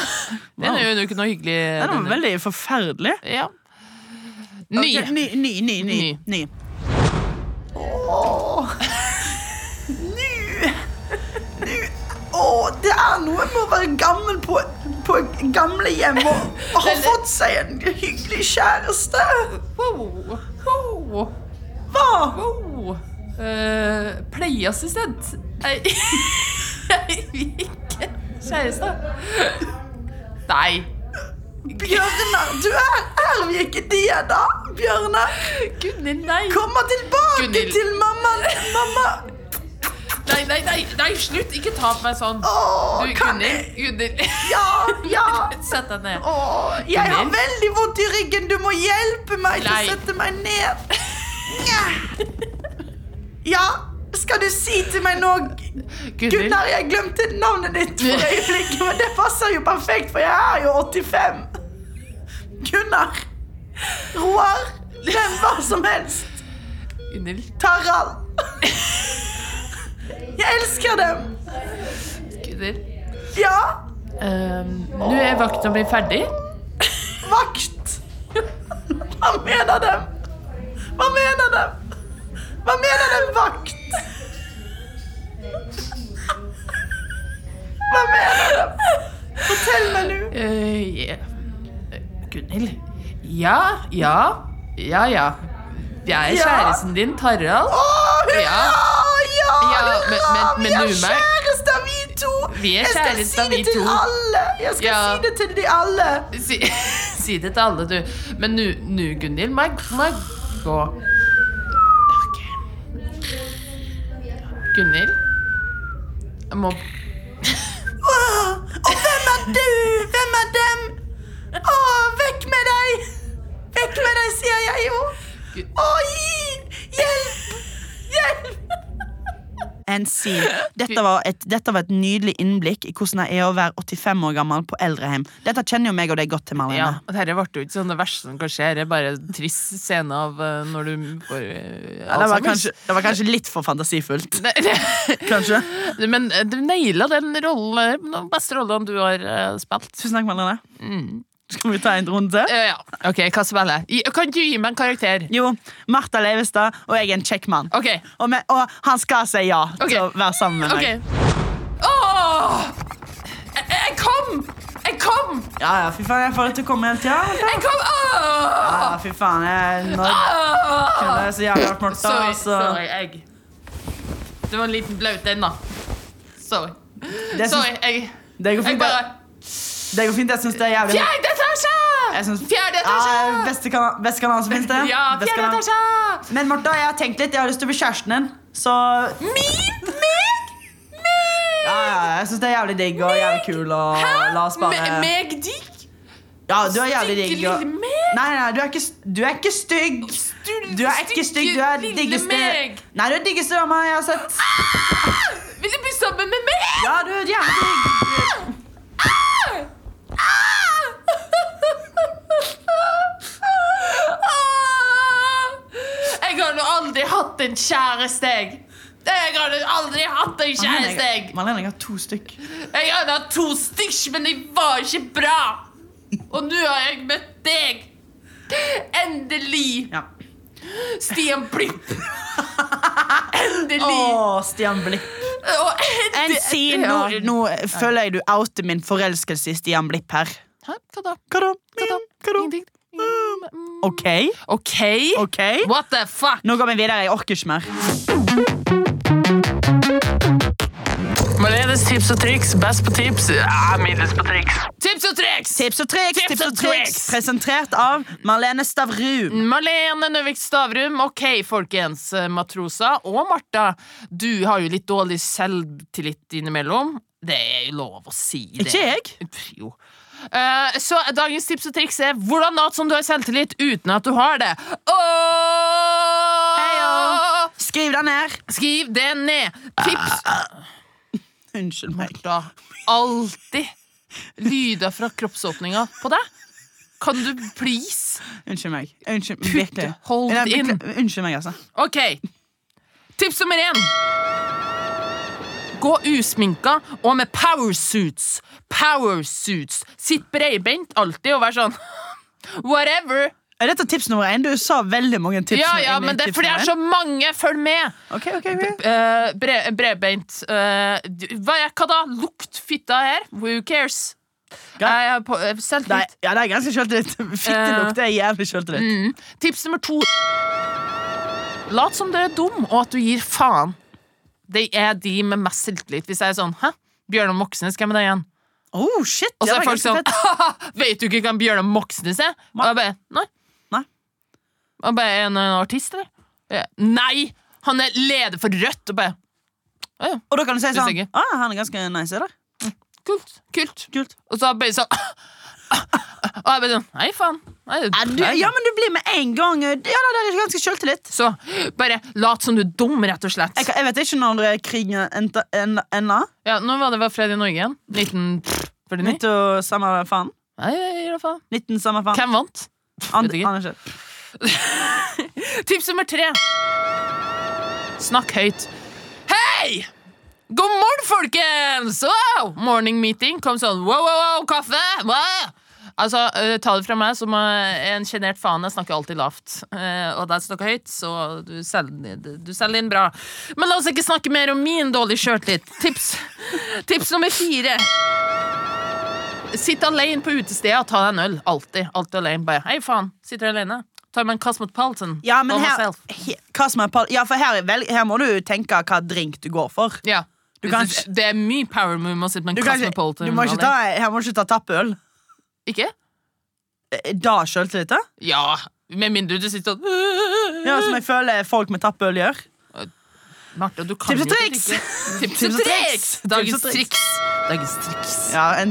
Den er jo ikke noe hyggelig.
Ah. Den var
denne.
veldig forferdelig.
Ja. Ny.
Ok, ny, ny, ny, ny,
Ny.
ny. Åh. Ny. Ny. Åh, det er noe med å være gammel på, på gamle hjem og, og ha
Veldig.
fått seg en hyggelig kjæreste.
Wow. Wow.
Hva?
Wow. Eh, pleieassistent. Ei- Ikke kjæreste. Nei.
Bjørnar, du er, er vi ikke det da, Bjørnar?
Gunhild, nei.
Kom tilbake
Gunhild.
til mamma, mamma.
Nei, nei, nei, nei, slutt! Ikke ta på meg sånn.
Åh,
Du,
kan
Gunhild.
jeg?
Gunhild.
Ja, ja.
Sett deg ned.
Åh, jeg har
Gunhild?
veldig vondt i ryggen. Du må hjelpe meg til å
Nei.
sette meg ned. Nja. Ja, skal du si til meg nå
Gunhild.
Gunnar, jeg glemte navnet ditt for øyeblikket, men det passer jo perfekt, for jeg er jo 85. Gunnar. Roar. Hvem hva som helst.
Gunhild.
Tarald. Jeg elsker dem.
Gunhild.
Ja,
Ehm, Nå er vakta mi ferdig.
vakt. Hva mener dem? Hva mener dem? Hva mener dem vakt? Hva mener dem? Fortell meg nå.
Eh, ja. Eh, Gunhild? Ja, ja. Ja, ja. Jeg er
Ja.
kjæresten din, Tarald.
Å, hurra! Ja,
Ja,
hurra!
men- men- men
vi
du
er
meg-
kjærester, vi to.
Vi er
Jeg
kjærester,
skal si
vi
det til
to.
alle. Jeg skal
Ja.
si det til de alle.
Si, si det til alle, du. Men nu- nå, Gunhild, må jeg må jeg gå. Ok. Gunhild? Jeg må
Åh, og hvem er du? Hvem er dem? Åh, vekk med deg! Vekk med deg, sier jeg jo. Oi! Hjelp! Hjelp! And see. Dette var, et, dette var et nydelig innblikk i hvordan det er å være 85 år gammel på eldrehjem. Dette kjenner jo meg og deg godt til, Marlene.
Ja, og Dette ble jo ikke sånn det verste som kan skje. Det er bare en trist scene av eh, når du får eh,
Ja, det,
Alzheimers.
var Altså, kanskje, det var kanskje litt for fantasifullt.
Nei, det-
Kanskje.
Men eh, du naila den rollen, den beste rollen du har eh, spilt.
Tusen takk, Marlene. Mm. Skal vi ta en runde til?
Eh, ja. Ok, hva spiller jeg? Gi- Kan ikke du gi meg en karakter?
Jo, Martha Leivestad, og jeg er en kjekk mann.
Ok.
Og, me- og han skal si ja
Ok.
til å være sammen med meg.
ok Åh! Jeg, jeg kom! Jeg kom!
Ja, ja, fy faen, jeg får det til å komme hele tida.
Jeg kom! Åh!
Ja, fy faen, jeg nå
Åh!
det er så jævla hardt, Martha.
Sorry,
altså.
sorry, jeg Det var en liten blaut en, da. Sorry.
Det syns-
Sorry, jeg
Det går
Jeg
fint.
bare
jeg- Det går fint, jeg syns det er jævlig
Fjerde etasje!
jeg synes-
Fjerde
Ja,
etasje!
beste, kanal, beste kanal som finnes, det.
Ja,
Beste
fjerde
kanal.
etasje!
Men Martha, jeg har tenkt litt. Jeg har lyst til å bli kjæresten din. Så
Min? Meg? Meg?
ja, ja, jeg syns det er jævlig digg og jævlig kul. Og la oss
Me-
bare
Meg digg?
Ja, du er jævlig digg. Og...
Stygge lille meg?
Nei, nei, nei, du er ikke, du er ikke stygg.
Stull-
Du er ikke stygg, du er
lille
diggeste
meg.
Nei, du er diggeste dama jeg har sett.
Vil du bli sammen med meg?
Ja, du er jævlig digg.
Ah! Jeg har nå aldri hatt en kjæreste, jeg. Jeg har nå aldri
Ah,
hatt en kjæreste, jeg.
Malene, jeg har to stykk.
Jeg har hatt to stykk, men de var ikke bra. Og nå har jeg møtt deg. Endelig.
Ja.
Stian Blipp. Endelig.
Å, Stian Blipp.
Og
And
endelig.
see, nå, nå føler jeg du outer min forelskelse i Stian Blipp her.
Hæ? Hva da?
Hva da?
Hva da?
Hva da?
Ingenting. Mm,
OK?
OK?
ok
What the fuck?
Nå går vi videre. Jeg orker ikke mer.
Malenes tips og triks, best på tips, ja, middels på triks. Tips og triks!
Tips og triks,
Tips
tips
og
og triks
tricks.
Presentert av Marlene Stavrum.
Malene Nøvik Stavrum, ok, folkens, eh, matrosa, og Martha, du har jo litt dårlig selvtillit innimellom. Det er jo lov å si det.
Ikke jeg.
Jo. Eh, så dagens tips og triks er hvordan late som du har selvtillit uten at du har det. Åh!
Heio. Skriv den ned.
Skriv det ned. Tips
Unnskyld meg.
da alltid lyder fra kroppsåpninga på deg? Kan du please?
Unnskyld meg. Unnskyld,
Putt-
virkelig.
hold
Nei,
inn.
bekle- Unnskyld meg, altså.
OK. Tips nummer én. Gå usminka og med powersuits. Powersuits. Sitt breibeint alltid og vær sånn Whatever.
Er dette tips nummer én? Du sa veldig mange tips.
Ja,
nå
ja,
inn i
men det er
tips
fordi det er
nummer
så mange. Følg med.
én. Ok, ok, ok.
Eh, bre bredbeint. Eh, du- hva, er- hva da? Lukt fitta her. Who cares?
Greit.
Jeg har på- eh,
Det
selvtillit.
er, ja, det er ganske kjøltillit.
Eh.
Fittelukt er jævlig
Mm.
kjøltillit.
Tips nummer to Lat som du er dum, og at du gir faen. Det er de med mest selvtillit. Hvis jeg er sånn Hæ? Bjørnar Moxnes, hvem er det igjen?
Oh, shit!
Og så
det
er
var
folk sånn
ganske fett.
«Haha, Vet du ikke hvem Bjørnar Moxnes er? Og jeg bare Nei.
Nei.
Og jeg bare, er han en artist, eller? Jeg, Nei! Han er leder for Rødt. Og bare
Og da kan du si sånn
ikke.
ah, Han er ganske nice, eller?
Kult. Kult.
Kult.
Og så bare sånn Og jeg bare sånn Nei, faen. Nei,
Ja, du,
nei.
ja, men du blir med en gang Ja, da, det er ganske kjøltillit.
Så bare lat som du er dum, rett og slett.
Jeg, kan- jeg vet ikke når krigen endte- en- enda.
Ja, nå var det var fred i Norge igjen. 1949.
Nytt og samme faen.
Nei, i hvert fall.
19 samme faen.
Hvem vant?
And,
vet ikke.
aner ikke.
Tips nummer tre. Snakk høyt. Hei! God morgen, folkens! Wow! Morning meeting. Kom sånn wow, wow, wow, kaffe! Wow! Altså, eh, Ta det fra meg som eh, en sjenert faen. Jeg snakker alltid lavt. Eh, og der snakker jeg høyt, så du selger, du selger inn bra. Men la oss ikke snakke mer om min dårlige sjøltillit. Tips. Tips nummer fire. Sitt alene på utestedet og ta deg en øl. Alltid. Alltid alene. Bare hei, faen. Sitter alene. Tar meg en Cosmopolitan.
Ja, men
By
her,
myself.
he, hva som er pal ja, for her, er vel, her må du tenke hva drink du går for.
Ja.
Du kan
det,
ikke-
det er mye power move å sitte med
Du,
en
kan ikke,
Cosmopolitan.
du må ikke ta,
alene.
her må du ikke ta tappøl.
Ikke?
Eh, Da sjøltillit, da?
Ja. Med mindre du sitter sånn
Ja, som jeg føler folk med tappøl gjør.
Martha, du kan
Tips og
jo ikke
triks!
drikke. Tips
Tips
og
og
triks! Dagens
triks! Tips og triks.
triks. Dagens triks.
Ja, en,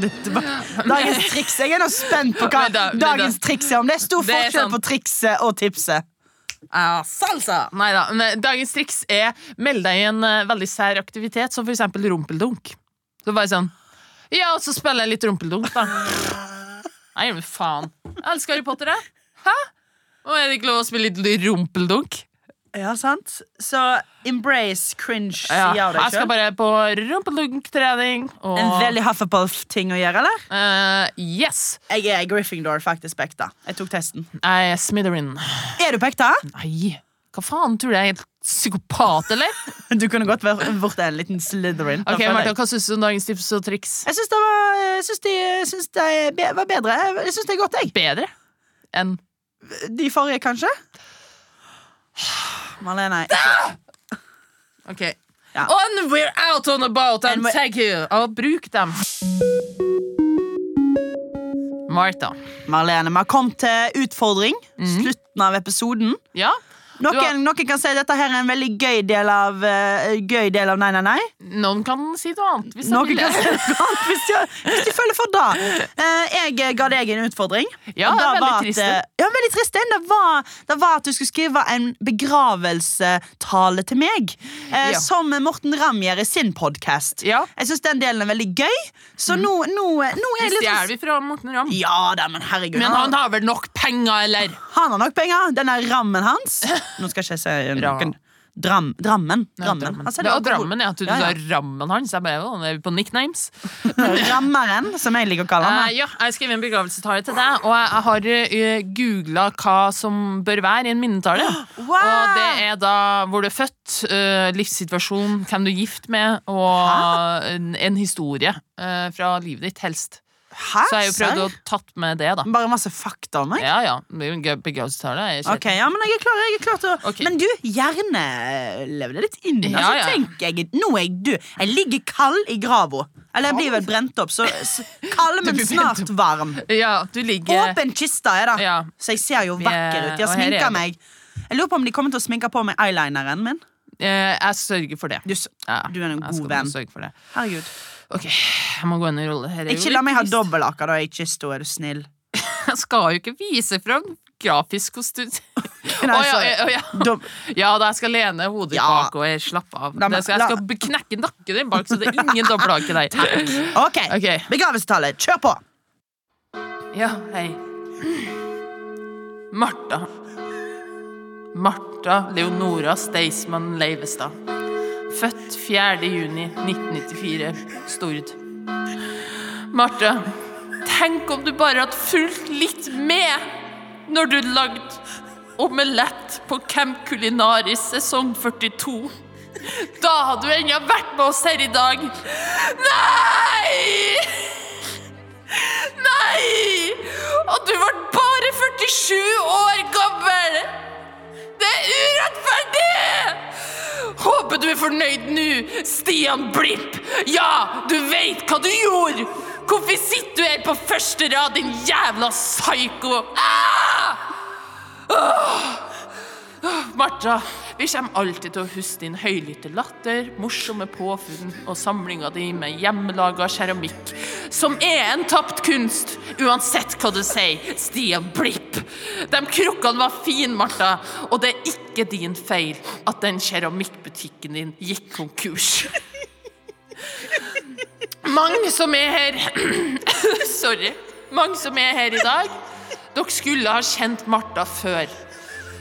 dagens triks. Jeg er nå spent på hva
Men da- men da-
dagens triks er. Om det er stor
Det er
forskjell
sant.
på trikset og tipset. Ah, salsa!
Neida, men eh, Dagens triks er meld deg i en eh, veldig sær aktivitet, som for eksempel rumpeldunk. Så bare sånn Ja, og så spiller jeg litt rumpeldunk, da. Nei, men faen. Jeg elsker Harry Potter, jeg. Hæ? Og er det ikke lov å spille litt rumpeldunk?
Ja, sant? Så embrace
Ja,
cringe, sier jeg
jeg
deg
skal
sjøl.
bare på rumpelunk-trening. og-
En veldig Hufflepuff-ting å gjøre, eller?
Eh, yes.
Jeg er Gryffindor, faktisk, på ekte. Jeg tok testen.
Jeg er Smitherin.
Er du på ekte?
Nei, hva faen? Tror du jeg er helt psykopat, eller?
Du kunne godt vært vært en liten Slytherin. da
Ok,
føler jeg.
Martha, Hva syns du om dagens tips og triks?
Jeg syns det, var, jeg synes det, jeg synes det be- var bedre. Jeg syns det er godt, jeg.
Bedre enn
De forrige, kanskje? Malene. ikke-
Ok.
Ja.
And we're out on about and
And we-
thank you. Og bruk dem. Martha.
Marlene, Vi har kommet til utfordring. Slutten av episoden.
Ja?
Noen,
Mhm. Du har-
noen kan si at dette her er en veldig gøy del av, eh, gøy del av Nei, nei, nei.
Noen kan si noe annet. Hvis de
Noen
vil.
kan si noe annet hvis de, hvis de føler for det. Eh, jeg ga deg en utfordring.
Ja,
Og da
veldig
var at,
trist.
eh, Ja, veldig trist den. Det var, det var at du skulle skrive en begravelsetale til meg. eh,
Ja.
Som Morten Ramm gjør i sin podkast.
Ja.
Jeg syns den delen er vellig gøy, så nå, nå, nå er jeg
Det
litt
stjeler vi fra Morten Ramm.
Ja da, men herregud.
Men
han,
han har vel nok penger, eller?
han har nok penger. Den er rammen hans. Nå skal ikke jeg si noen Dram, Drammen. Drammen. Han selger
Ja,
alkohol.
Drammen, ja. at Du,
Ja, ja.
du har rammen hans. Jeg bare, «Å, nå er vi på nicknames.
Rammeren, som jeg liker å kalle
Eh,
han.
ja, jeg skrev en begravelsetale til deg, og jeg har uh, googla hva som bør være i en minnetale.
Wow!
Og det er da hvor du er født, eh, livssituasjon, hvem du er gift med, og en, en historie eh, fra livet ditt, helst.
Hæ?
Så jeg har jo prøvd å tatt med det, da.
Bare masse fakta om meg?
Ja, ja. det er jo en gøy Begravelsetale er kjedelig.
Ok, ja, men jeg er klar, jeg er klar til å
Ok.
Men du, gjerne lev det litt inn. Altså,
Ja, ja.
tenker jeg, nå er jeg død. Jeg ligger kald i grava. Eller jeg blir vel brent opp, så s- kald, men
blir brent
snart varm.
Ja, du ligger
Åpen kiste er det,
Ja.
så jeg ser jo
Vi er-
vakker ut. De har
og her er
sminka
det.
meg. Jeg lurer på om de kommer til å sminke på meg eyelineren min.
eh, Jeg sørger for det.
Du, s-
Ja,
du er en
jeg skal
god venn.
sørge for det.
Herregud.
Ok, jeg må gå inn i rolle. Her er jo
Ikke la meg ha
litt trist.
dobbeltlaker, da. Ikke stå, er du snill.
Jeg skal jo ikke vise fram grafisk kostyme. Å,
Nei,
ja,
sorry.
ja, ja.
Dob
Ja, da jeg skal lene hodet
Ja.
bak og slappe av.
La meg-
Det skal, jeg
la-
skal b- knekke nakken din bak, så det er ingen dobbelthake der.
OK.
Ok.
Begravelsetallet, kjør på!
Ja, hei. Martha. Martha Leonora Staysman Leivestad. Født 4. juni 1994, Stord. Martha, tenk om du bare hadde fulgt litt med når du lagde omelett på Camp Kulinaris sesong 42. Da hadde du ennå vært med oss her i dag. Nei! Nei! Og du var bare 47 år gammel! Det er urettferdig! Håper du er fornøyd nå, Stian Blipp. Ja, du veit hva du gjorde! Hvorfor sitter du her på første rad, din jævla psyko? Ah! Martha, vi kommer alltid til å huske din høylytte latter, morsomme påfunn og samlinga di med hjemmelaga keramikk, som er en tapt kunst, uansett hva du sier, Stian Blipp. De krukkene var fine, Martha, og det er ikke din feil at den keramikkbutikken din gikk konkurs. Mange som er her Sorry. Mange som er her i dag, dere skulle ha kjent Martha før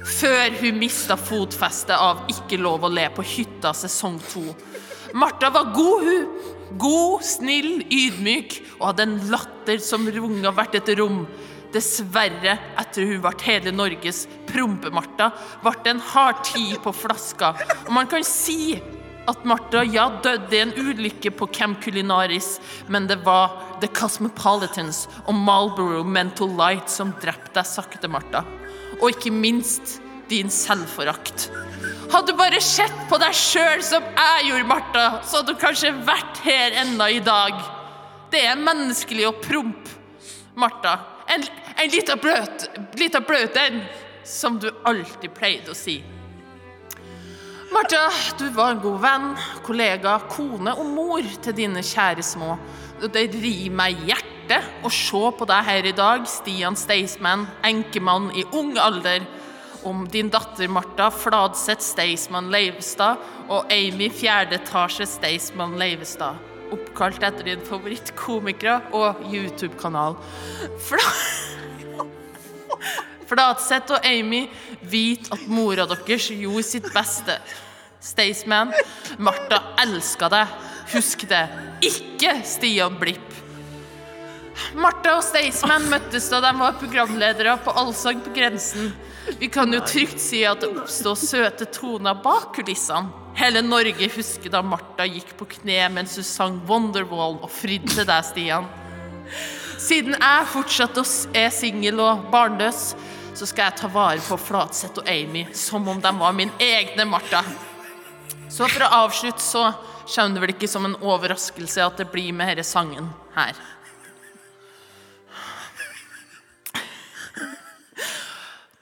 før hun mista fotfestet av Ikke lov å le på hytta sesong to. Martha var god, hun. God, snill, ydmyk og hadde en latter som runga hvert et rom. Dessverre, etter hun ble hele Norges prompe-Martha, ble det en hard tid på flaska. Og man kan si at Martha, ja, døde i en ulykke på Camp Culinaris, men det var The Cosmopolitans og Marlboro Mental Light som drepte deg sakte, Martha. Og ikke minst din selvforakt. Hadde du bare sett på deg sjøl som jeg gjorde, Martha, så hadde du kanskje vært her ennå i dag. Det er menneskelig å prompe, Martha. En, en lita bløt, lita bløt en, som du alltid pleide å si. Martha, du var en god venn, kollega, kone og mor til dine kjære små. Og Det rir meg i hjertet å se på deg her i dag, Stian Staysman, enkemann i ung alder. om din datter Martha Fladseth Staysman Leivestad og Amy Fjerde Etasje Staysman Leivestad. Oppkalt etter din favorittkomikere og YouTube-kanal. Fla... Fladseth og Amy vit at mora deres gjorde sitt beste. Staysman, Martha elska deg. Husk det. Ikke Stian Blipp. Martha og Staysman møttes da de var programledere på Allsang på grensen. Vi kan jo trygt si at det oppstod søte toner bak kulissene. Hele Norge husker da Martha gikk på kne mens hun sang Wonderwall og fridde til deg, Stian. Siden jeg fortsatt oss- er singel og barnløs, så skal jeg ta vare på Flatseth og Amy som om de var min egne Martha. Så for å avslutte så kommer det vel ikke som en overraskelse at det blir med denne sangen her.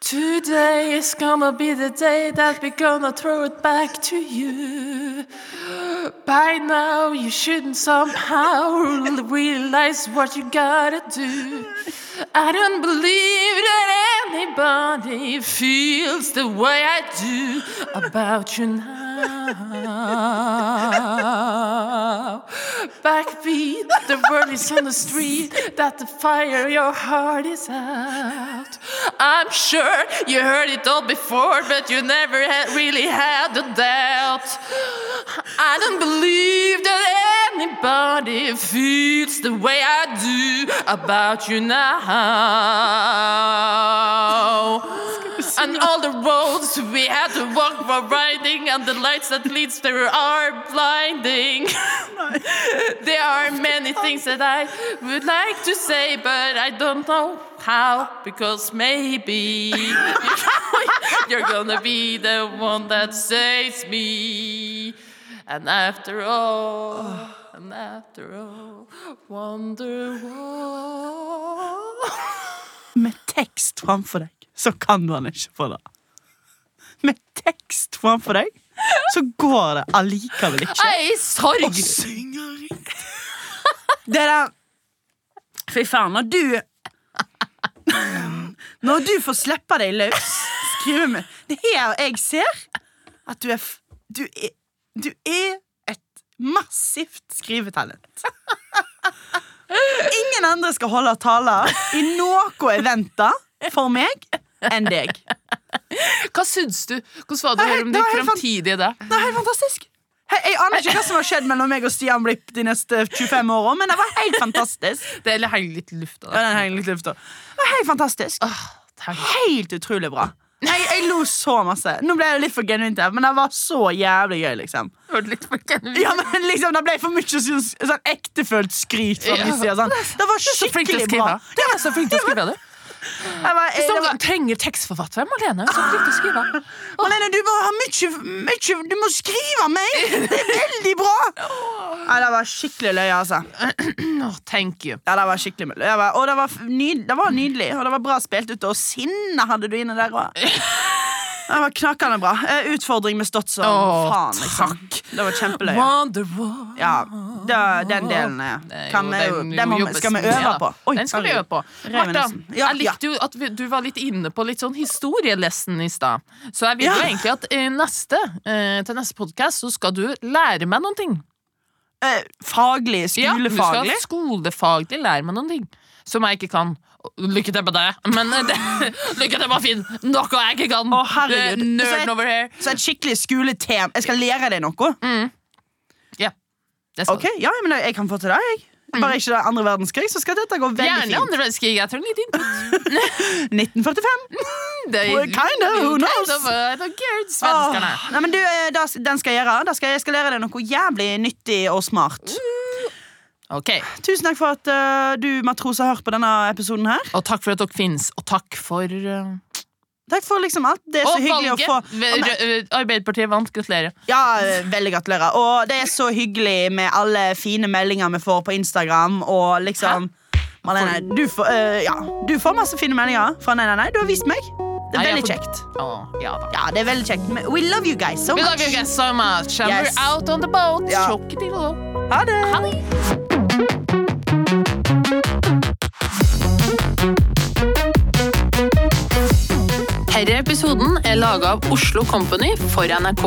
Today is gonna be the day that we're gonna throw it back to you. By now, you shouldn't somehow realize what you gotta do. I don't believe that anybody feels the way I do about you now. Backbeat, the word is on the street that the fire in your heart is out. I'm sure you heard it all before, but you never had really had a doubt. I don't believe that anybody feels the way I do about you now. And all the roads we had to walk were riding, and the lights that leads there are blinding. there are many things that I would like to say, but I don't know how, because maybe you're gonna be the one that saves me. And after all, and after all, wonder
Med tekst framfor deg, så kan du han ikke få det. Med tekst framfor deg, så går det allikevel ikke.
Jeg er i sorg!
synger riktig. Det der Fy faen, når du Når du får slippe deg løs, skrive med Det er her jeg ser at du er f- Du er, du er et massivt skrivetalent. Ingen andre skal holde taler i noe eventer for meg enn deg.
Hva syns du? Hvordan var det å
Nei,
høre om
det
din
var helt fan-
fremtidige deg?
Det er helt fantastisk. He- Jeg aner ikke hva som har skjedd mellom meg og Stian Blipp de neste 25 årene, men det var helt fantastisk.
Det eller henger litt i lufta.
Ja, den henger litt i lufta. Det var helt fantastisk. Helt utrolig bra. Jeg, jeg lo så masse. Nå ble det litt for genuint, her, men det var så jævlig gøy, liksom. Ja, men liksom, Det ble for mye sånn, sånn ektefølt skryt fra min side. Sånn. Det var
Så flink til å
skikkelig bra.
skrive. Det er så flink til å skrive det.
Jeg var, jeg, det
Som
var,
trenger tekstforfatter. Malene så flink til å skrive.
Malene, du må ha mye, mye Du må skrive mer! Det er veldig bra! Nei, det var skikkelig løye, altså.
Åh, thank you.
Ja, det var skikkelig mye. Jeg var- Og det var, f- nyd, det var nydelig, og det var bra spilt ute. Og sinne hadde du inne der òg. Det var knakende bra. Eh, Utfordring med stått som
Åh,
faen, liksom. Det var kjempeløye.
Wonderwall.
Ja, det, den delen er
Det er
kan
jo-
vi,
det er
jo-
jo
den må, vi-
jobbes
skal vi
med, da.
øve på. Oi,
Den skal vi
herregud.
øve på.
Rev i
Martha,
nesen. Ja,
jeg likte jo at vi- du var litt inne på litt sånn historielesson i stad. Så jeg vil
Ja.
jo egentlig at eh, neste, eh, til neste podkast så skal du lære meg noen ting.
Eh, Faglig,
Ja, du
skolefaglig.
skal skolefaglig lære meg noen ting som jeg ikke kan. Lykke til med det, men eh, det, lykke til med å finne noe jeg ikke kan.
Å, herregud.
Det er
Så jeg-
Nerd over here.
Så et skikkelig skoletema. Jeg skal lære deg noe.
Mm. Ja, det sånn. skal
Ok, ja, men jeg kan få til det. jeg bare ikke det andre verdenskrig, så skal dette gå
du.
veldig
Mm. Gjerne
fint.
andre verdenskrig. Jeg trenger litt input.
1945.
Det
Well, kinda, who
kind
knows?
of, uh, don't care, Svenskene.
Åh, Nei, men du, eh, da, den skal jeg gjøre. Da skal jeg, jeg skal lære deg noe jævlig nyttig og smart.
Mm.
Ah.
Ok,
Tusen takk for at eh, du, matros, har hørt på denne episoden her.
Og takk for at dere finnes, og takk for uh,
Takk for liksom alt. Det er så
Og
hyggelig
valget!
å få
Ve-
Å, nei.
Rø- uh, Arbeiderpartiet vant, gratulerer.
Ja, eh, veldig gratulerer. Og det er så hyggelig med alle fine meldinger vi får på Instagram, og liksom Marlene, du får, eh, ja, du får masse fine meldinger fra Nei, nei, nei. Du har vist meg.
Nei,
Det er
jeg
veldig
får-
kjekt.
Å, ja da.
Ja, det er veldig kjekt. Men We love you guys so
We
much.
love you guys so much, and
Yes.
we're out on the boat.
Ja.
Tjokkidillo.
Ha det.
Ha det! Denne episoden er laga av Oslo Company for NRK.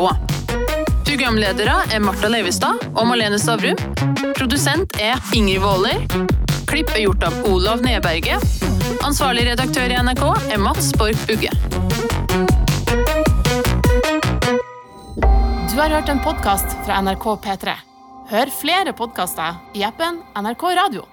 Programledere er Marta Leivestad og Malene Stavrum. Produsent er Ingrid Waaler. Klipp er gjort av Olav Neberge. Ansvarlig redaktør i NRK er Mats Borg Bugge.
Du har hørt en podkast fra NRK P3. Hør flere podkaster i appen NRK Radio.